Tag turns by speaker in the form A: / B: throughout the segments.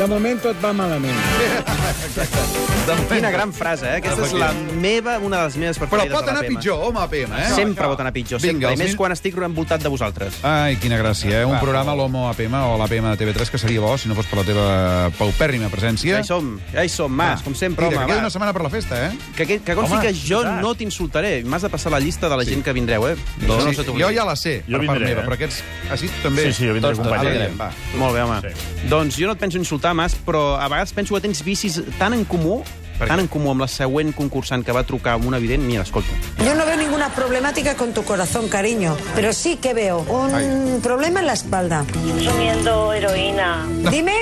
A: De moment tot va malament.
B: Quina gran frase, eh? Aquesta és la meva, una de les meves
C: Però
B: preferides
C: pot
B: de la
C: anar
B: PM.
C: pitjor, home, APM, eh?
B: Sempre pot anar pitjor, sempre.
C: Vinga,
B: Vinga,
C: els
B: I més
C: mil- Ah,
B: quan estic envoltat de vosaltres.
C: Ai, quina gràcia, eh? Un programa, l'Homo APM o l'APM de TV3, que seria bo si no fos per la teva paupèrrima presència.
B: Ja hi som, ja hi som, Mas, com sempre,
C: Ah, Mira,
B: home.
C: que queda
B: va.
C: una setmana per la festa, eh?
B: Que, que, que consti
D: Home,
B: que jo
D: clar.
B: no t'insultaré. M'has de passar la llista de la gent que vindreu, eh? Això no
C: Sí,
B: se t'oblidi.
C: jo ja la sé,
D: Jo
C: per part
D: vindré,
C: meva,
D: eh?
C: però aquests... Així també.
D: Sí, sí, jo vindré
C: Tots, tots.
D: acompanyat.
C: Ara direm, va.
B: Molt bé, home.
D: Sí.
B: Doncs jo no et penso insultar, Mas, però a vegades penso que tens vicis tan en comú
C: Per
B: tan
C: què?
B: en comú amb la següent concursant que va trucar amb un evident... Mira, escolta.
E: Yo no veo ninguna problemática con tu corazón, cariño, pero sí que veo un problema en la espalda.
F: consumiendo heroína.
E: Dime,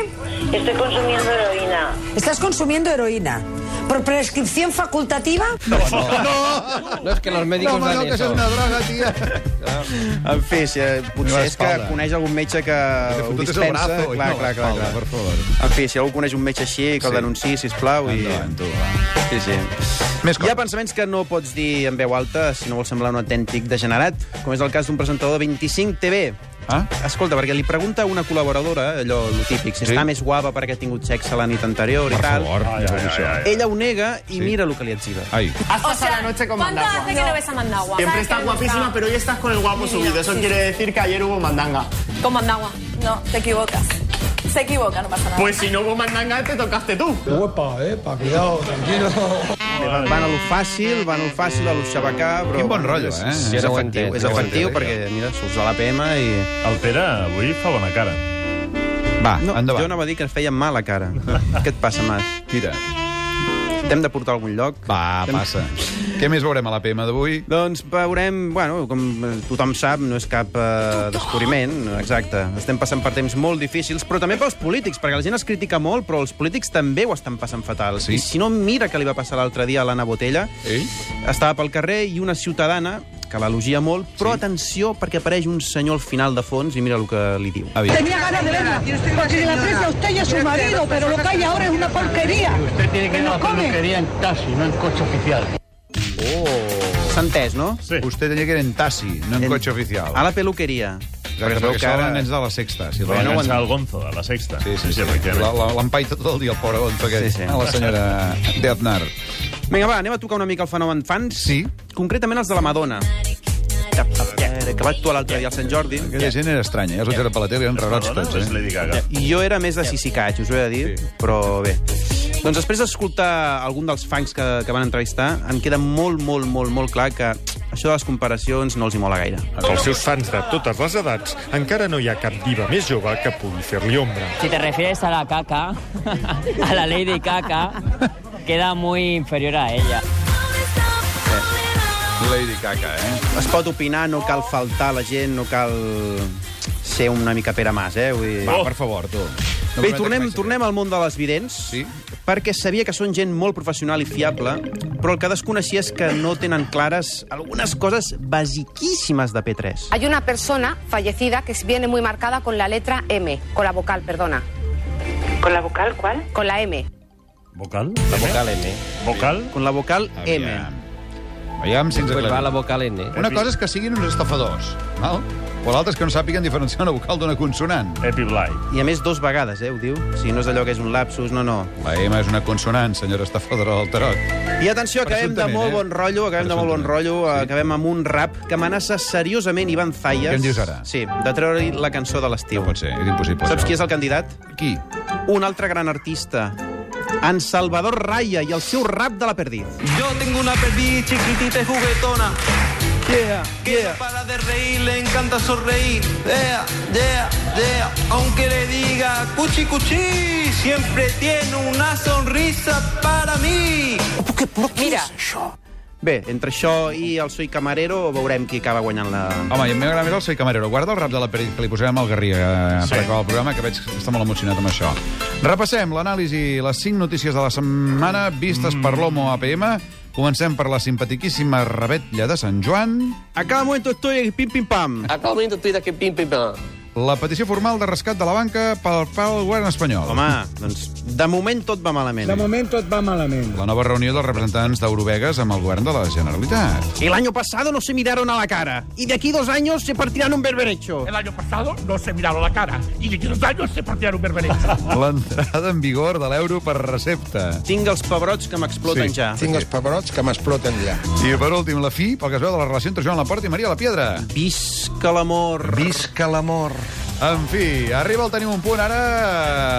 F: Estoy consumiendo heroína.
E: ¿estás consumiendo heroína? ¿Por prescripción facultativa?
G: No es que los médicos
C: No, home,
G: dan
C: no, que és
G: eso.
C: una droga, tia.
B: En fi, si, eh, potser és que
C: L'espalda.
B: coneix algun metge que ho
C: Fototes el
B: dispensa.
C: brazo.
B: clar, clar, clar, clar.
C: Per favor.
B: En fi, si algú coneix un metge així, que el
C: Sí.
B: denunciï, sisplau. I...
C: Endavant, tu, va.
B: Sí, sí.
C: Més
B: Hi ha
C: coses.
B: pensaments que no pots dir en veu alta si no vols semblar un autèntic degenerat, com és el cas d'un presentador de 25 TV.
C: Ah?
B: Escolta, perquè li pregunta a una col·laboradora, allò lo típic, si
C: Sí.
B: sí. està més guapa perquè ha tingut sexe la nit anterior
C: Per
B: i tal.
C: favor.
D: Ai, ai, ai, ai.
B: Ella ho nega i
C: Sí.
B: mira el que li etziba.
C: Ai.
H: O sea, la noche con ¿Cuánto hace que no ves a Mandagua?
I: Siempre estás guapísima, pero hoy estás con el guapo subido. Eso quiere decir que ayer hubo mandanga.
H: Con Mandagua. No, te equivocas. Se equivoca, no pasa nada.
I: Pues si no hubo mandanga, te tocaste tú.
A: Uepa, eh, pa, cuidado, tranquilo.
B: Van a lo fàcil, van a lo fàcil, a lo xabacà... Però...
C: Quin bon rotllo, eh?
B: Sí, és
G: Jo no ho
B: efectiu,
G: entenc,
B: és
G: jo no ho
B: efectiu
C: entenc,
B: perquè, mira, surts a l'APM i...
D: El Pere avui fa bona cara.
C: Va,
B: No,
C: endavant.
B: jo anava a dir que es feia mal a cara. Què et passa, Mas?
C: Tira.
B: T'hem de portar a algun lloc?
C: Va,
B: T'hem-
C: passa. Què més veurem a la PM d'avui?
B: Doncs veurem, bueno, com eh, tothom sap, no és cap eh, descobriment, exacte. Estem passant per temps molt difícils, però també pels polítics, perquè la gent es critica molt, però els polítics també ho estan passant fatal. I
C: Sí?
B: si no, mira que li va passar l'altre dia a l'Anna Botella.
C: Ei?
B: Estava pel carrer i una ciutadana, que l'elogia molt, però sí. atenció, perquè apareix un senyor al final de fons i mira el que li diu.
C: Aviam.
E: Tenía ganas de verla, porque la aprecia a usted y a su marido, pero lo que hay ahora es una porquería.
I: Usted tiene que ir a la peluquería en taxi, no en coche oficial.
B: S'ha entès, no?
D: Oh. Sí.
C: Usted tenia que ir en taxi, no en,
B: En-
C: cotxe oficial.
B: A la peluqueria.
C: Exacte, perquè que ara... nens de la sexta. Si
D: Va
C: la-
D: llançar el Gonzo, a la sexta.
C: Sí, sí, sí.
D: efectivament.
C: La- la- L'empaita tot el dia, el pobre Gonzo aquest.
B: Sí, sí.
C: A la senyora de Aznar.
B: Vinga, va, anem a tocar una mica el fenomen fans.
C: Sí.
B: Concretament els de la Madonna. eh, Que va actuar l'altre dia al Sant Jordi.
C: Aquella gent era estranya, eh? ja us vaig veure per la tele, eren rarots
D: Madonna
C: tots,
D: o és
C: eh?
D: Lady Gaga?
B: I jo era més de sisicatx, us ho he de dir,
C: Sí.
B: però bé. Doncs després d'escoltar algun dels fangs que, que van entrevistar, em queda molt, molt, molt, molt clar que això de les comparacions no els hi mola gaire.
J: Pels seus fans de totes les edats, encara no hi ha cap diva més jove que pugui fer-li ombra.
K: Si te refieres a la caca, a la Lady Caca, queda muy inferior a ella.
C: Lady Caca, eh?
B: Es pot opinar, no cal faltar a la gent, no cal ser una mica Pere Mas, eh? Vull dir...
C: Va, per favor, tu. No
B: Bé,
C: prometes
B: tornem,
C: mai ser
B: tornem al món de les vidents,
C: Sí.
B: perquè sabia que són gent molt professional i fiable, però el que desconeixia és que no tenen clares algunes coses basiquíssimes de P3.
H: Hay una persona fallecida que viene muy marcada con la letra M, con la vocal, perdona,
F: ¿Con la vocal cuál?
H: con la M.
D: Vocal?
G: La vocal N.
D: Vocal?
B: Con la vocal
C: Aviam.
B: M.
C: Aviam si ens
G: Pues va la
C: aclarim.
G: vocal N.
C: Una cosa és que siguin uns estafadors, val? O l'altra és que no sàpiguen diferenciar una vocal d'una consonant.
D: Happy Blight.
B: I a més dos vegades, eh, ho diu. Si no és allò que és un lapsus, no, no.
C: La M és una consonant, senyora estafadora del tarot.
B: I atenció, acabem de
C: Presumptament,
B: molt
C: eh?
B: bon rotllo, acabem de molt bon
C: Presumptament.
B: rotllo,
C: Sí.
B: acabem amb un rap que amenaça seriosament Ivan Zayas.
C: Què em dius ara?
B: Sí, de treure-li la cançó de l'estiu.
C: No pot ser, és impossible.
B: Saps qui és el candidat?
C: Qui?
B: Un altre gran artista, en Salvador Raya i el seu rap de la perdiz.
K: Yo tengo una perdiz chiquitita y juguetona.
B: Yeah, yeah.
K: Para de reír, le encanta sonreír. Yeah, yeah, yeah. Aunque le diga cuchi cuchi, siempre tiene una sonrisa para mí.
H: Mira,
B: Bé, entre això i el Soy Camarero veurem qui acaba guanyant la...
C: Home, i a mi m'agrada més el Soy Camarero. Guarda el rap de la Perill, que li posarem al Garriga eh, per acabar el programa, que veig que està molt emocionat amb això. Repassem l'anàlisi, les 5 notícies de la setmana vistes per l'Homo APM. Comencem per la simpatiquíssima Rebetlla de Sant Joan,
B: A cada moment estoy pim pim pam.
G: A cada momento estoy de que pim, pim, pam.
C: la petició formal de rescat de la banca pel, pel govern espanyol.
B: Home, doncs de moment tot va malament.
A: De moment tot va malament.
C: La nova reunió dels representants d'Eurovegas amb el govern de la Generalitat.
B: El año pasado no se miraron a la cara. Y de aquí dos años se partirán un berberecho.
L: El año pasado no se miraron la cara y de los años se partieron un berberecho.
C: L'entrada en vigor de l'euro per recepta.
B: Tinc els pebrots que m'exploten
C: Sí.
B: ja.
C: Tinc els
B: pebrots que m'exploten ja.
C: I per últim, la fi, pel que es veu de la relació entre Joan Laporta i Maria la Piedra.
B: Visca l'amor.
C: Visca l'amor. En fi, arriba el Tenim un punt ara.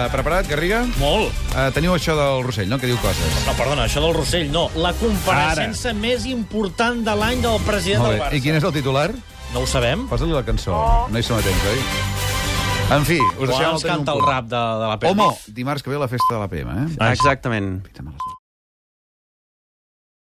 C: eh, Preparat, Garriga?
M: Molt.
C: Uh, teniu això del Rossell, no?, que diu coses.
M: No, perdona, això del Rossell, no. La compareixença més important de l'any del president
C: Molt
M: del
C: bé.
M: Barça.
C: I quin és el titular?
M: No ho sabem.
C: Posa-li la cançó. No hi som a temps, oi? En fi, us
M: Quan
C: deixem el
M: ens
C: Tenim un
M: canta el
C: punt.
M: rap de, de la Perdiz? Ah.
C: Homo, dimarts que ve la festa de la PM, eh?
B: Exactament.